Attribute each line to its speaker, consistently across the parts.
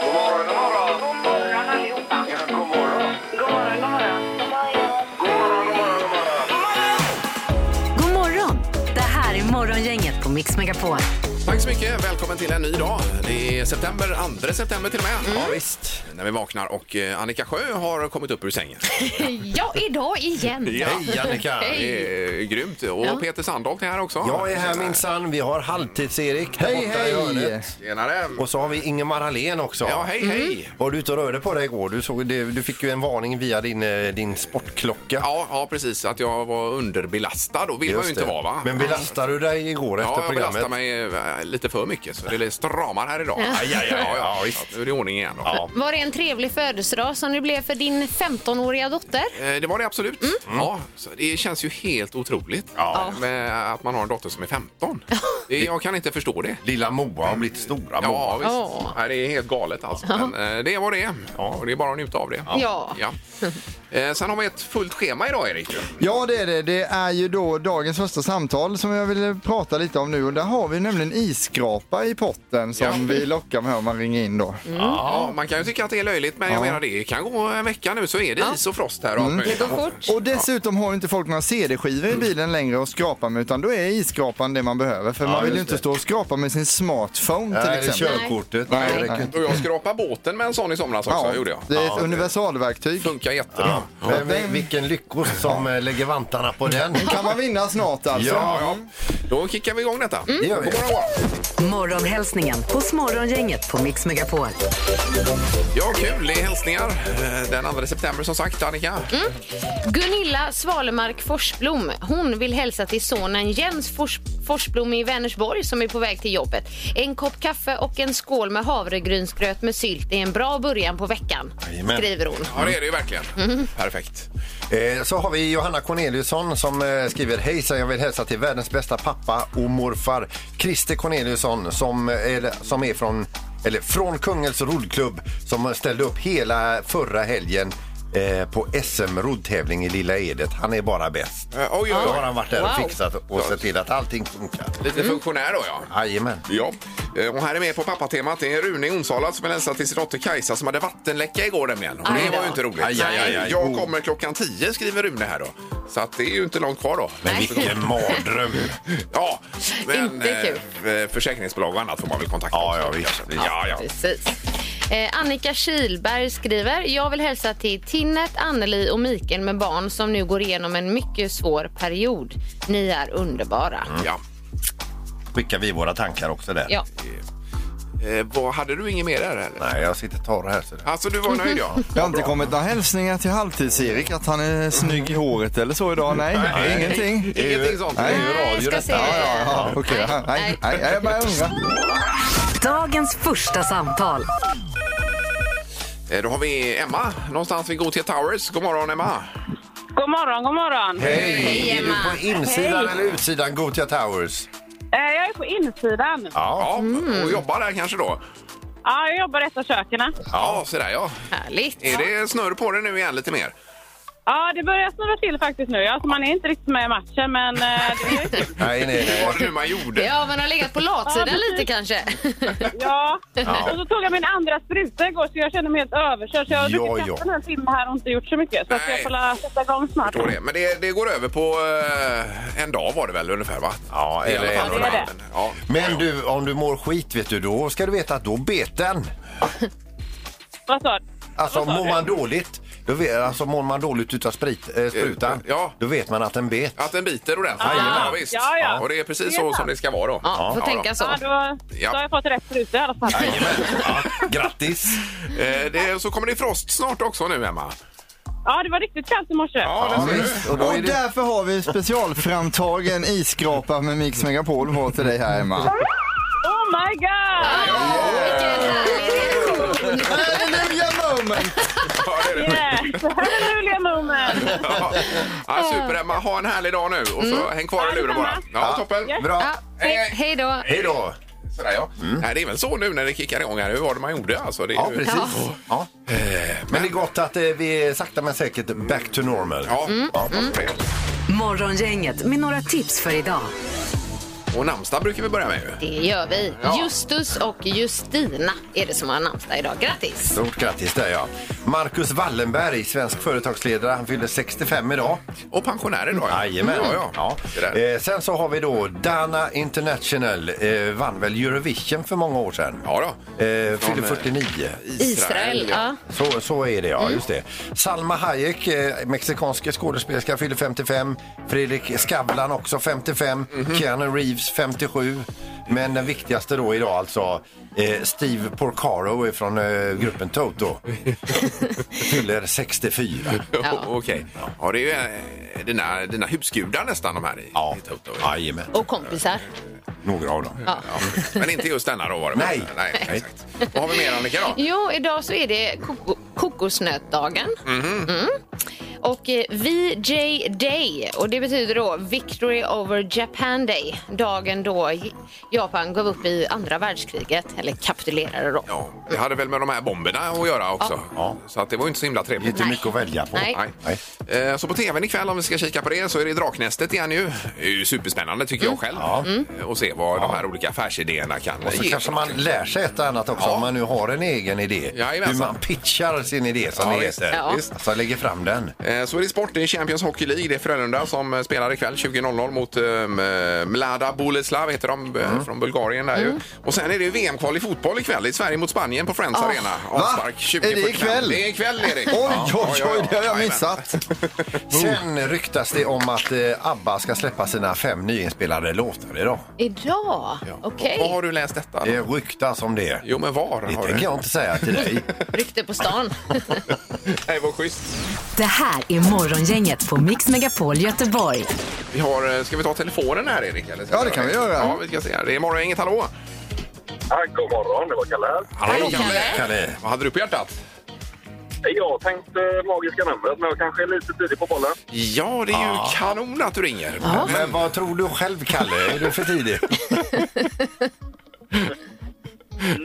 Speaker 1: God morgon, god morgon.
Speaker 2: God morgon allihopa.
Speaker 1: Ja, god morgon.
Speaker 2: God morgon, god morgon.
Speaker 1: God morgon, god morgon, god morgon.
Speaker 3: God morgon! Det här är Morgongänget på Mix Megapol.
Speaker 4: Tack så mycket. Välkommen till en ny dag. Det är september, 2 september till och med.
Speaker 5: Mm.
Speaker 4: Ja, visst. När vi vaknar och eh, Annika Sjö har kommit upp ur sängen.
Speaker 5: Ja, idag igen.
Speaker 4: Hej Annika!
Speaker 5: Hej.
Speaker 4: Det är grymt. Och Peter Sandholt är här också.
Speaker 6: Jag är här minsann. Vi har Halvtids-Erik där
Speaker 7: Hej,
Speaker 6: borta i
Speaker 7: hej.
Speaker 6: hörnet.
Speaker 4: Tjenare!
Speaker 6: Och så har vi Ingemar Ahlén också.
Speaker 4: Ja, hej
Speaker 5: Mm.
Speaker 4: hej!
Speaker 6: Var du ute och rörde på dig igår? Du, såg, det, du fick ju en varning via din, eh, din sportklocka.
Speaker 4: Ja, ja, precis. Att jag var underbelastad och vill man ju
Speaker 6: Just
Speaker 4: inte
Speaker 6: det.
Speaker 4: vara. Va?
Speaker 6: Men belastade du dig igår
Speaker 4: Ja,
Speaker 6: efter
Speaker 4: jag belastar
Speaker 6: programmet?
Speaker 4: mig eh, lite för mycket så det är stramar här idag. Ja, ja, ja, ja, visst. Nu är det ordning igen. Då.
Speaker 5: Var det en trevlig födelsedag som det blev för din 15-åriga dotter?
Speaker 4: Eh, Det var det absolut. Ja, så det känns ju helt otroligt med att man har en dotter som är 15. Det, jag kan inte förstå det.
Speaker 6: Lilla Moa har blivit stora Moa.
Speaker 4: Ja, visst.
Speaker 5: Ja.
Speaker 4: Nej, det är helt galet alltså. Men, eh, det var det. Och det är bara att njuta av det.
Speaker 5: Ja.
Speaker 4: Eh, Sen har vi ett fullt schema idag, Erik.
Speaker 7: Ja, det är det. Det är ju då dagens första samtal som jag vill prata lite om nu. Och där har vi nämligen isskrapa i potten som
Speaker 4: Ja.
Speaker 7: vi lockar med om man ringer in då.
Speaker 6: Mm.
Speaker 4: Ja, man kan ju tycka att det är löjligt, men jag
Speaker 7: Ja.
Speaker 4: menar det kan gå en vecka nu så är det is och frost här och allt möjligt.
Speaker 7: Och dessutom har ju inte folk några CD-skivor i bilen längre att skrapa med utan då är isskrapan det man behöver. För man vill ju
Speaker 6: just
Speaker 7: inte
Speaker 6: det.
Speaker 7: stå och skrapa med sin smartphone till
Speaker 6: Nej, det är
Speaker 7: exempel.
Speaker 6: körkortet.
Speaker 7: Nej.
Speaker 6: det räcker inte.
Speaker 4: Och jag skrapade båten med en sån i somras också,
Speaker 7: Ja,
Speaker 4: gjorde jag.
Speaker 7: det är ett universalverktyg.
Speaker 4: Funkar jättebra.
Speaker 6: Men vi- vilken lyckost som eh, lägger vantarna på den.
Speaker 7: Kan man vinna snart alltså.
Speaker 6: Ja,
Speaker 4: Ja, då kickar vi igång detta.
Speaker 7: Mm.
Speaker 6: det gör vi.
Speaker 4: God morgon, god morgon.
Speaker 3: Morgonhälsningen hos Morgongänget på Mix Megapol.
Speaker 4: Ja, kul. Det är hälsningar. Eh, Den 2 september som sagt, Annika.
Speaker 5: Gunilla Svalemark Forsblom hon vill hälsa till sonen Jens Fors Forsblom i Vänersborg som är på väg till jobbet. En kopp kaffe och en skål med havregrynsgröt med sylt är en bra början på veckan,
Speaker 6: Jajamän.
Speaker 5: skriver hon.
Speaker 4: Ja, det är det ju verkligen. Perfekt.
Speaker 6: Eh, Så har vi Johanna Corneliusson som eh, skriver Hejsan, jag vill hälsa till världens bästa pappa och morfar Christer Corneliusson som eh, är, som är från, eller från Kungälvs roddklubb som ställde upp hela förra helgen eh, på SM roddtävling i Lilla Edet. Han är bara bäst.
Speaker 4: Eh, Oj, oj,
Speaker 6: Då har
Speaker 4: oj.
Speaker 6: han varit där och
Speaker 5: Wow.
Speaker 6: fixat och sett till att allting funkar.
Speaker 4: Lite funktionär då, ja.
Speaker 6: Jajamän.
Speaker 4: Mm. Ja, Eh, och här är med på pappatemat. Det är Rune i Onsala som vill hälsa till sin dotter Kajsa som hade vattenläcka igår nämligen. Och det
Speaker 5: Aj då.
Speaker 4: var ju inte roligt.
Speaker 6: Aj, aj, aj, aj.
Speaker 4: Jag kommer klockan 10 skriver Rune här då. Så att det är ju inte långt kvar då.
Speaker 6: Men vilken mardröm!
Speaker 4: Ja, men
Speaker 5: Inte kul.
Speaker 4: eh, försäkringsbolag och annat får man väl kontakta
Speaker 6: Ja,
Speaker 4: också,
Speaker 6: ja, visst.
Speaker 4: kanske. Ja, ja.
Speaker 5: Precis. Eh, Annika Kilberg skriver Jag vill hälsa till Tinnet, Anneli och Miken med barn som nu går igenom en mycket svår period. Ni är underbara.
Speaker 4: ja.
Speaker 6: Skickar vi våra tankar också där?
Speaker 5: Ja.
Speaker 4: Eh, vad, hade du inget mer där eller?
Speaker 6: Nej, jag sitter torr här. Så det...
Speaker 4: Alltså du var nöjd ja.
Speaker 7: Det har inte kommit några hälsningar till halvtids-Erik att han är snygg i håret eller så idag. Nej, ingenting.
Speaker 4: Ingenting sånt.
Speaker 7: Nej.
Speaker 5: Nej, ska se.
Speaker 7: Ja, ja, ja, okej.
Speaker 5: Nej,
Speaker 7: Nej, nej, nej, jag bara undrar.
Speaker 3: Dagens första samtal.
Speaker 4: Eh, Då har vi Emma någonstans vid Gothia Towers. God morgon Emma!
Speaker 2: God morgon, god morgon.
Speaker 6: Hej! är du
Speaker 5: Ah,
Speaker 6: på insidan eller utsidan Gothia Towers?
Speaker 2: Eh, Jag är på insidan.
Speaker 4: Ja, och jobbar där kanske då?
Speaker 2: Ja, jag jobbar i ett av köken.
Speaker 4: Ja, så där ja.
Speaker 5: Härligt.
Speaker 4: Är det snurr på det nu igen lite mer?
Speaker 2: Ja, det börjar snurra till faktiskt nu. Alltså, man är inte riktigt med i matchen, men eh, det är kul.
Speaker 6: Nej, nej,
Speaker 4: Vad
Speaker 6: nej.
Speaker 4: var det nu man gjorde?
Speaker 5: Ja, man har legat på latsidan lite kanske.
Speaker 2: Ja. Och så tog jag min andra spruta igår, så jag känner mig helt överkörd. Så jag har
Speaker 6: Ja,
Speaker 2: druckit kaffe
Speaker 6: ja.
Speaker 2: en timme här och inte gjort så mycket. Så att jag
Speaker 4: Nej.
Speaker 2: får la- sätta igång snart.
Speaker 4: Då det. Men det, det går över på eh, en dag var det väl ungefär va?
Speaker 6: Ja,
Speaker 4: I
Speaker 6: eller
Speaker 4: alla fall för
Speaker 6: en
Speaker 2: och en
Speaker 4: mig.
Speaker 2: halv.
Speaker 4: Ja.
Speaker 6: Men du, om du mår skit, vet du, då ska du veta att då bet den.
Speaker 2: Vad sa du?
Speaker 6: Alltså,
Speaker 2: Vad sa
Speaker 6: mår
Speaker 2: du?
Speaker 6: man dåligt, då vet, alltså mår man dåligt utav sprit, eh, sprutan,
Speaker 4: Ja.
Speaker 6: då vet man att den bet.
Speaker 4: Att den biter ordentligt.
Speaker 6: Jajamän.
Speaker 4: ja, visst.
Speaker 2: Ja, ja.
Speaker 4: Och det är precis
Speaker 2: Det är
Speaker 4: så
Speaker 2: sant.
Speaker 4: som det ska vara då.
Speaker 5: Ja, får tänka så.
Speaker 2: Ja, då,
Speaker 4: Ja.
Speaker 2: då har jag fått rätt spruta i alla fall.
Speaker 6: Ja, grattis!
Speaker 4: Eh, det, så kommer det frost snart också nu Emma.
Speaker 2: Ja, det var riktigt kallt i morse.
Speaker 4: Ja, där ser du.
Speaker 6: Och då
Speaker 7: Och
Speaker 6: är det...
Speaker 7: därför har vi specialframtagen isskrapa med Mix Megapol på till dig här Emma.
Speaker 2: Oh my god!
Speaker 5: Åh, vilken härlig reaktion.
Speaker 7: Hallelujah moment!
Speaker 4: Ja, det är det.
Speaker 2: Yes! Hallelujah moment!
Speaker 4: Ja. Ja, super Emma, ha en härlig dag nu och så häng kvar i luren bara. Ja, toppen.
Speaker 2: Ja.
Speaker 6: Bra!
Speaker 5: Ja, hej, hej då.
Speaker 6: Hej då! Mm.
Speaker 4: Sådär, ja. Nej, det är väl så nu när det kickar igång här, hur var det man gjorde alltså? Det är
Speaker 6: Ja,
Speaker 4: ju-
Speaker 6: precis. Ja. Men det är gott att eh, vi är sakta men säkert back to normal. Mm.
Speaker 4: Ja, ja, vad trevligt.
Speaker 3: Morgongänget med några tips för idag.
Speaker 4: Och namnsdag brukar vi börja med ju.
Speaker 5: Det gör vi.
Speaker 4: Ja.
Speaker 5: Justus och Justina är det som har namnsdag idag. Grattis!
Speaker 6: Stort grattis där ja. Marcus Wallenberg, svensk företagsledare, han fyller 65 idag.
Speaker 4: Och pensionär idag. ja. Mm.
Speaker 6: Jajamän.
Speaker 4: Ja, ja.
Speaker 6: Ja.
Speaker 4: Det där.
Speaker 6: Eh, sen så har vi då Dana International, eh, vann väl Eurovision för många år sedan.
Speaker 4: Ja då.
Speaker 6: Eh,
Speaker 4: Från,
Speaker 6: fyller
Speaker 4: eh,
Speaker 6: 49.
Speaker 5: Israel, ja.
Speaker 6: Så, så är det,
Speaker 4: Mm.
Speaker 6: ja. Just det. Salma Hayek, eh, mexikansk skådespelerska, fyller 55. Fredrik Skavlan också 55.
Speaker 4: Mhm.
Speaker 6: Keanu Reeves 57. Men den viktigaste då idag alltså, eh, Steve Porcaro från eh, gruppen Toto. fyller 64.
Speaker 4: Ja. Okej. Ja, det är ju eh, dina, dina husgudar nästan de här i
Speaker 6: Ja,
Speaker 4: i Toto.
Speaker 6: jajamän.
Speaker 5: Och kompisar.
Speaker 6: Några av dem.
Speaker 5: Ja.
Speaker 4: Men inte just denna då var det väl?
Speaker 6: Nej.
Speaker 4: Nej, exakt. Vad har vi mer Annika då?
Speaker 5: Jo, idag så är det koko- kokosnötdagen. Mm. Och eh, VJ Day, och det betyder då Victory over Japan Day. Dagen då J- Japan gav upp i andra världskriget, eller kapitulerade då.
Speaker 4: Ja, det hade väl med de här bomberna att göra också.
Speaker 6: Ja.
Speaker 4: Så att det var ju inte så himla trevligt.
Speaker 6: Inte mycket att välja på.
Speaker 5: Nej.
Speaker 4: Nej. Eh, Så på tvn ikväll om vi ska kika på det så är det Draknästet igen ju. Det är ju superspännande tycker jag själv.
Speaker 6: Mm. Ja.
Speaker 4: Eh, Och se vad de här olika affärsidéerna kan
Speaker 6: Och så
Speaker 4: ge.
Speaker 6: kanske man lär sig ett och annat också
Speaker 4: Ja.
Speaker 6: om man nu har en egen idé.
Speaker 4: Jajamensan.
Speaker 6: Hur man pitchar sin idé som
Speaker 4: Ja,
Speaker 6: det
Speaker 4: visst,
Speaker 6: heter.
Speaker 5: ja.
Speaker 6: Visst. Alltså lägger fram den.
Speaker 4: Eh, Så är det sport, det är Champions Hockey League. Det är Frölunda som eh, spelar ikväll 20.00 mot um, Mlada Boleslav heter de eh,
Speaker 7: Mm.
Speaker 4: från Bulgarien där ju. Och sen är det ju VM-kval i fotboll ikväll. Det är Sverige mot Spanien på Friends Arena. Avspark
Speaker 7: Ah, Va?
Speaker 4: 20.45.
Speaker 7: Är det ikväll?
Speaker 4: Det är ikväll Erik.
Speaker 7: Oj,
Speaker 4: Ja,
Speaker 7: oj,
Speaker 4: ja, ja.
Speaker 7: oj, det har jag
Speaker 4: Jajamän.
Speaker 7: missat.
Speaker 6: Sen ryktas det om att eh, ABBA ska släppa sina fem nyinspelade låtar idag.
Speaker 5: Idag? Okej.
Speaker 4: Vad har du läst detta?
Speaker 6: Det ryktas om det.
Speaker 4: Jo men var
Speaker 6: Det
Speaker 4: har
Speaker 6: tänker
Speaker 4: du?
Speaker 6: jag inte säga till dig.
Speaker 5: Rykte på stan.
Speaker 4: Nej vad schysst.
Speaker 3: Det här är Morgongänget på Mix Megapol Göteborg.
Speaker 4: Vi har, eh, ska vi ta telefonen här Erik? Eller ska
Speaker 7: Ja, det kan vi göra.
Speaker 4: Ja vi ska se här. Det är morgon, inget hallå.
Speaker 1: Ja, God morgon, det var Kalle här.
Speaker 4: Hallå
Speaker 5: Kalle.
Speaker 6: Kalle.
Speaker 4: Vad hade du på hjärtat?
Speaker 1: Jag tänkte magiska numret, men jag kanske är lite tidig på bollen.
Speaker 4: Ja det är ju kanon att du ringer.
Speaker 6: Men vad tror du själv Kalle? Är du för tidig?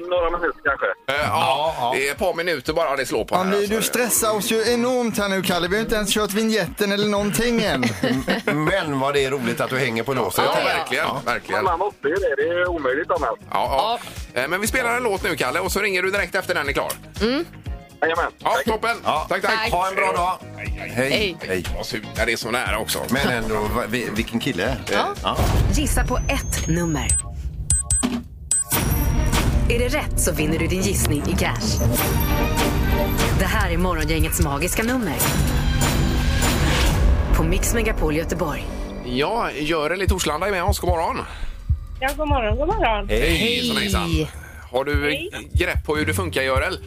Speaker 1: Några minuter kanske.
Speaker 4: Eh, Ja, det är ett par minuter bara det slår på
Speaker 7: Ja,
Speaker 4: här,
Speaker 7: men
Speaker 4: alltså.
Speaker 7: du stressar oss ju enormt här nu Kalle. Vi har inte ens kört vignetten eller någonting än.
Speaker 6: Men vad det är roligt att du hänger på låset.
Speaker 4: Ja,
Speaker 5: Ja,
Speaker 6: här.
Speaker 5: ja.
Speaker 4: verkligen. verkligen.
Speaker 1: Men man måste ju det, det är omöjligt annars.
Speaker 4: Ja, ja. Eh, Men vi spelar en låt nu, Kalle, och så ringer du direkt efter den är klar.
Speaker 1: Jajamän.
Speaker 4: Ja, toppen!
Speaker 6: Ja.
Speaker 4: Tack, tack!
Speaker 5: Tack.
Speaker 6: Ha en bra dag. Hej.
Speaker 5: Hej.
Speaker 6: Hej.
Speaker 4: Vad surt när det är så nära också.
Speaker 6: Men ändå, va- vi- vilken kille.
Speaker 5: Ja.
Speaker 3: Gissa på ett nummer. Är det rätt så vinner du din gissning i cash. Det här är Morgongängets magiska nummer. På Mix Megapol Göteborg.
Speaker 4: Ja, Görel i Torslanda är med oss. God morgon!
Speaker 2: Ja, god morgon, god morgon.
Speaker 4: Hejsan, hejsan! Har du grepp på hur det funkar, Görel?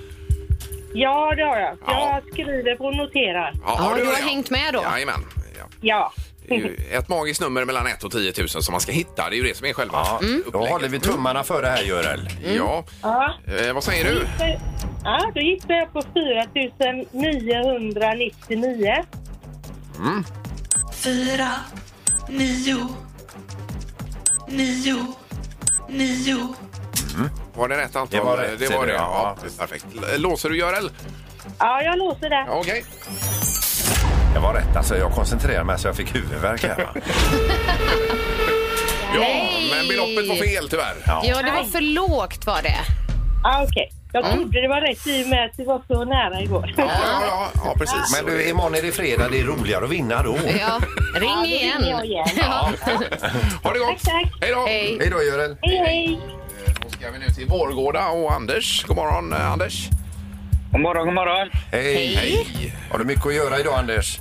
Speaker 2: Ja, det har jag.
Speaker 4: Ja.
Speaker 2: Jag skriver på och noterar.
Speaker 5: Ja,
Speaker 4: det
Speaker 5: du
Speaker 4: gör
Speaker 5: har
Speaker 4: jag.
Speaker 5: hängt med då.
Speaker 4: Jajamän. Ja.
Speaker 2: Ja.
Speaker 4: Det är ju ett magiskt nummer mellan 1 och 10 000 som man ska hitta. Det är ju det som är själva
Speaker 6: Ja, Då håller vi tummarna för det här Görel.
Speaker 4: Ja.
Speaker 2: Ja,
Speaker 4: Eh, vad säger du?
Speaker 2: ja då gissar jag på 4 999.
Speaker 8: fyra, nio, nio, nio.
Speaker 4: Var det rätt antal?
Speaker 6: Det var rätt,
Speaker 4: det,
Speaker 6: ser
Speaker 4: var
Speaker 6: du,
Speaker 4: det.
Speaker 6: ja.
Speaker 4: Ja, perfekt. Låser du, Görel?
Speaker 2: Ja, jag låser det.
Speaker 4: Ja, Okej.
Speaker 6: Det var rätt alltså. Jag koncentrerade mig så jag fick huvudvärk här. va?
Speaker 4: Ja,
Speaker 5: Nej.
Speaker 4: men beloppet var fel tyvärr.
Speaker 6: Ja.
Speaker 5: Ja, det var för lågt var det.
Speaker 2: Ja, okej. Jag trodde det var rätt i och med att det var så nära igår.
Speaker 4: Ja, ja, ja, ja precis.
Speaker 6: Men du, imorgon är det fredag. Det är roligare att vinna då.
Speaker 5: Ja, ring
Speaker 2: då ringer
Speaker 5: igen.
Speaker 2: jag igen.
Speaker 5: Ja.
Speaker 4: Ha det gott!
Speaker 2: Tack, tack.
Speaker 4: Hej då!
Speaker 5: Hej.
Speaker 6: Hej då Görel.
Speaker 2: Hej, hej!
Speaker 4: Då ska vi nu till Vårgårda och Anders. God morgon eh, Anders!
Speaker 9: God morgon, god morgon.
Speaker 6: Hej.
Speaker 4: Hej!
Speaker 6: Har du mycket att göra idag Anders?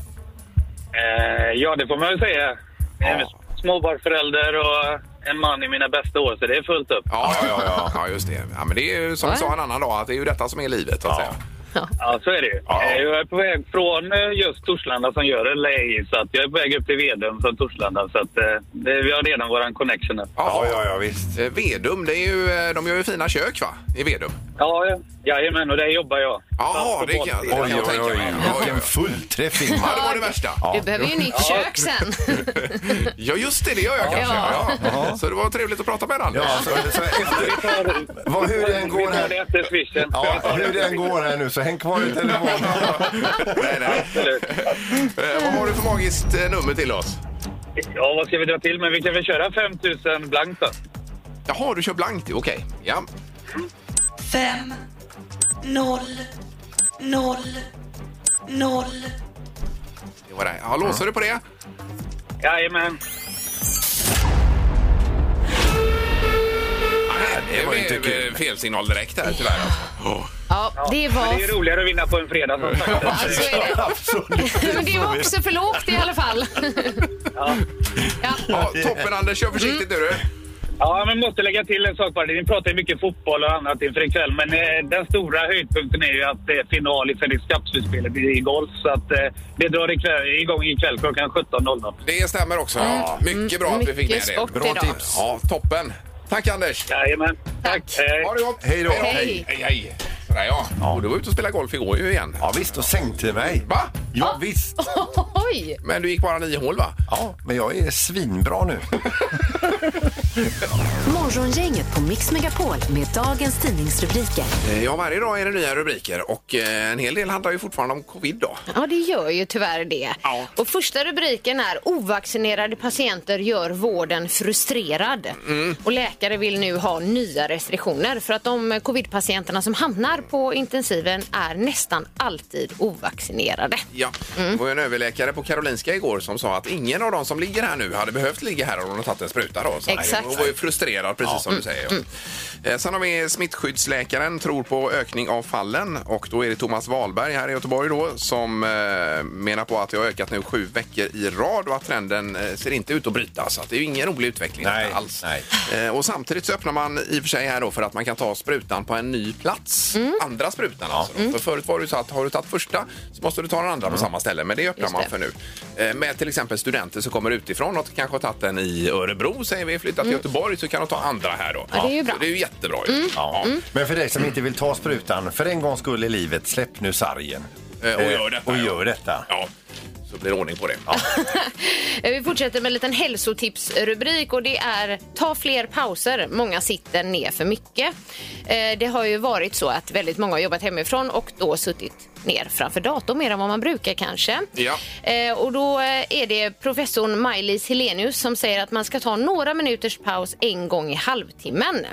Speaker 9: Eh, ja, det får man väl säga. Jag är Småbarnsförälder och en man i mina bästa år, så det är fullt upp.
Speaker 4: Ja, ja, ja, ja. ja, just det. Ja, men det är ju som vi sa en annan dag, att det är ju detta som är livet. så Att säga.
Speaker 9: Ja, så är det ju. Eh, jag är på väg från eh, just Torslanda som gör det, LA, så att jag är på väg upp till Vedum från Torslanda. Så att, eh, det, vi har redan vår connection här.
Speaker 4: Ja, ja.
Speaker 6: ja visst.
Speaker 4: Eh, Vedum, det är ju, eh, de gör ju fina kök va? I Vedum.
Speaker 9: Ja, ja. jajamän, och där jobbar jag. Fast
Speaker 4: Jaha,
Speaker 9: på
Speaker 4: det kan, det
Speaker 9: båten.
Speaker 4: kan
Speaker 6: Oj,
Speaker 4: jag
Speaker 6: oj,
Speaker 4: tänka mig.
Speaker 6: oj.
Speaker 4: Ja, ja,
Speaker 6: Vilken
Speaker 4: ja.
Speaker 6: fullträff Ingmar.
Speaker 4: Ja, det var det värsta.
Speaker 5: Du behöver ju nytt kök sen.
Speaker 4: Ja, just det, det gör jag kanske. Ja. Så det var trevligt att prata med dig, Anders.
Speaker 6: Ja, så, så efter, vad, hur den
Speaker 9: Vi
Speaker 6: går
Speaker 9: tar det
Speaker 6: här.
Speaker 9: efter swishen.
Speaker 6: Ja, hur den går här nu så häng kvar i telefonen.
Speaker 4: nej, nej.
Speaker 9: Absolut.
Speaker 4: Eh, Vad har du för magiskt eh, nummer till oss?
Speaker 9: Ja, vad ska vi dra till med? Vi kan väl köra 5000 blankt då?
Speaker 4: Jaha, du kör blankt. Okej. Ja.
Speaker 8: fem, noll, noll, noll.
Speaker 4: Det var det. Ja, låser du på det?
Speaker 9: Jajamän.
Speaker 4: Nej,
Speaker 6: det var inte kul.
Speaker 4: Felsignal direkt där tyvärr. Alltså.
Speaker 5: Ja, det var...
Speaker 9: Men det är roligare att vinna på en fredag som sagt.
Speaker 5: Ja, så är det. Men det var också för lågt i alla fall. Ja.
Speaker 4: Ja, toppen Anders, kör försiktigt nu du.
Speaker 9: Ja, men måste lägga till en sak bara. Ni pratar ju mycket fotboll och annat inför ikväll, men eh, den stora höjdpunkten är ju att det är final i Fenix Cup-slutspelet i golf. Så att eh, det drar ikväll, igång ikväll klockan 17.00.
Speaker 4: Det stämmer också. Ja, mycket bra att vi fick med
Speaker 5: Mycket
Speaker 4: det.
Speaker 5: sport
Speaker 4: Bra
Speaker 5: idag.
Speaker 4: tips. Ja, toppen. Tack Anders.
Speaker 9: Jajamän. Tack. Hej.
Speaker 4: Ha det gott.
Speaker 6: Hej då.
Speaker 5: Hej.
Speaker 4: Hej, hej. Sådär ja. Och du var ute och spelade golf igår ju igen.
Speaker 6: Ja, visst, och sänkte mig.
Speaker 4: Va?
Speaker 6: Ja, visst.
Speaker 5: Oj!
Speaker 4: Men du gick bara nio hål va?
Speaker 6: Ja, men jag är svinbra nu.
Speaker 3: Morgongänget på Mix Megapol med dagens tidningsrubriker.
Speaker 4: Eh, Ja, varje dag är det nya rubriker och eh, en hel del handlar ju fortfarande om covid då.
Speaker 5: Ja, det gör ju tyvärr det.
Speaker 4: Ja.
Speaker 5: Och första rubriken är ovaccinerade patienter gör vården frustrerad. Och läkare vill nu ha nya restriktioner för att de covidpatienterna som hamnar på intensiven är nästan alltid ovaccinerade.
Speaker 4: Ja, det var ju en överläkare på Karolinska igår som sa att ingen av de som ligger här nu hade behövt ligga här om de hade tagit en spruta. Då. Så
Speaker 5: Exakt.
Speaker 4: Hon var ju frustrerad, precis som du säger. ja. Eh, Sen har vi smittskyddsläkaren tror på ökning av fallen och då är det Thomas Wahlberg här i Göteborg då som eh, menar på att det har ökat nu sju veckor i rad och att trenden eh, ser inte ut att brytas. Så att det är ju ingen rolig utveckling
Speaker 6: Nej,
Speaker 4: alls.
Speaker 6: nej.
Speaker 4: Eh, Och samtidigt så öppnar man i och för sig här då för att man kan ta sprutan på en ny plats.
Speaker 5: Mm.
Speaker 4: Andra sprutan alltså. då. För förut var det ju så att har du tagit första så måste du ta den andra på samma ställe. Men det öppnar
Speaker 5: Mm. Just
Speaker 4: man
Speaker 5: det.
Speaker 4: för nu. Eh, Med till exempel studenter som kommer utifrån och kanske har tagit den i Örebro säger vi, flyttat till Göteborg så kan de ta andra här då.
Speaker 5: Mm. Ja, det är ju bra.
Speaker 4: Så
Speaker 5: Mm.
Speaker 4: det är ju jättebra ju.
Speaker 6: Ja.
Speaker 4: Mm.
Speaker 6: Men för dig som inte vill ta sprutan, för en gångs skull i livet, släpp nu sargen.
Speaker 4: Eh, och gör detta,
Speaker 6: Och
Speaker 4: ja.
Speaker 6: gör detta.
Speaker 4: Ja, så blir det ordning på det.
Speaker 5: Eh, Vi fortsätter med en liten hälsotipsrubrik och det är ta fler pauser. Många sitter ner för mycket. Eh, Det har ju varit så att väldigt många har jobbat hemifrån och då suttit ner framför datorn mer än vad man brukar kanske.
Speaker 4: Ja.
Speaker 5: Eh, Och då eh, är det professorn Maj-Lis Helenius som säger att man ska ta några minuters paus en gång i halvtimmen.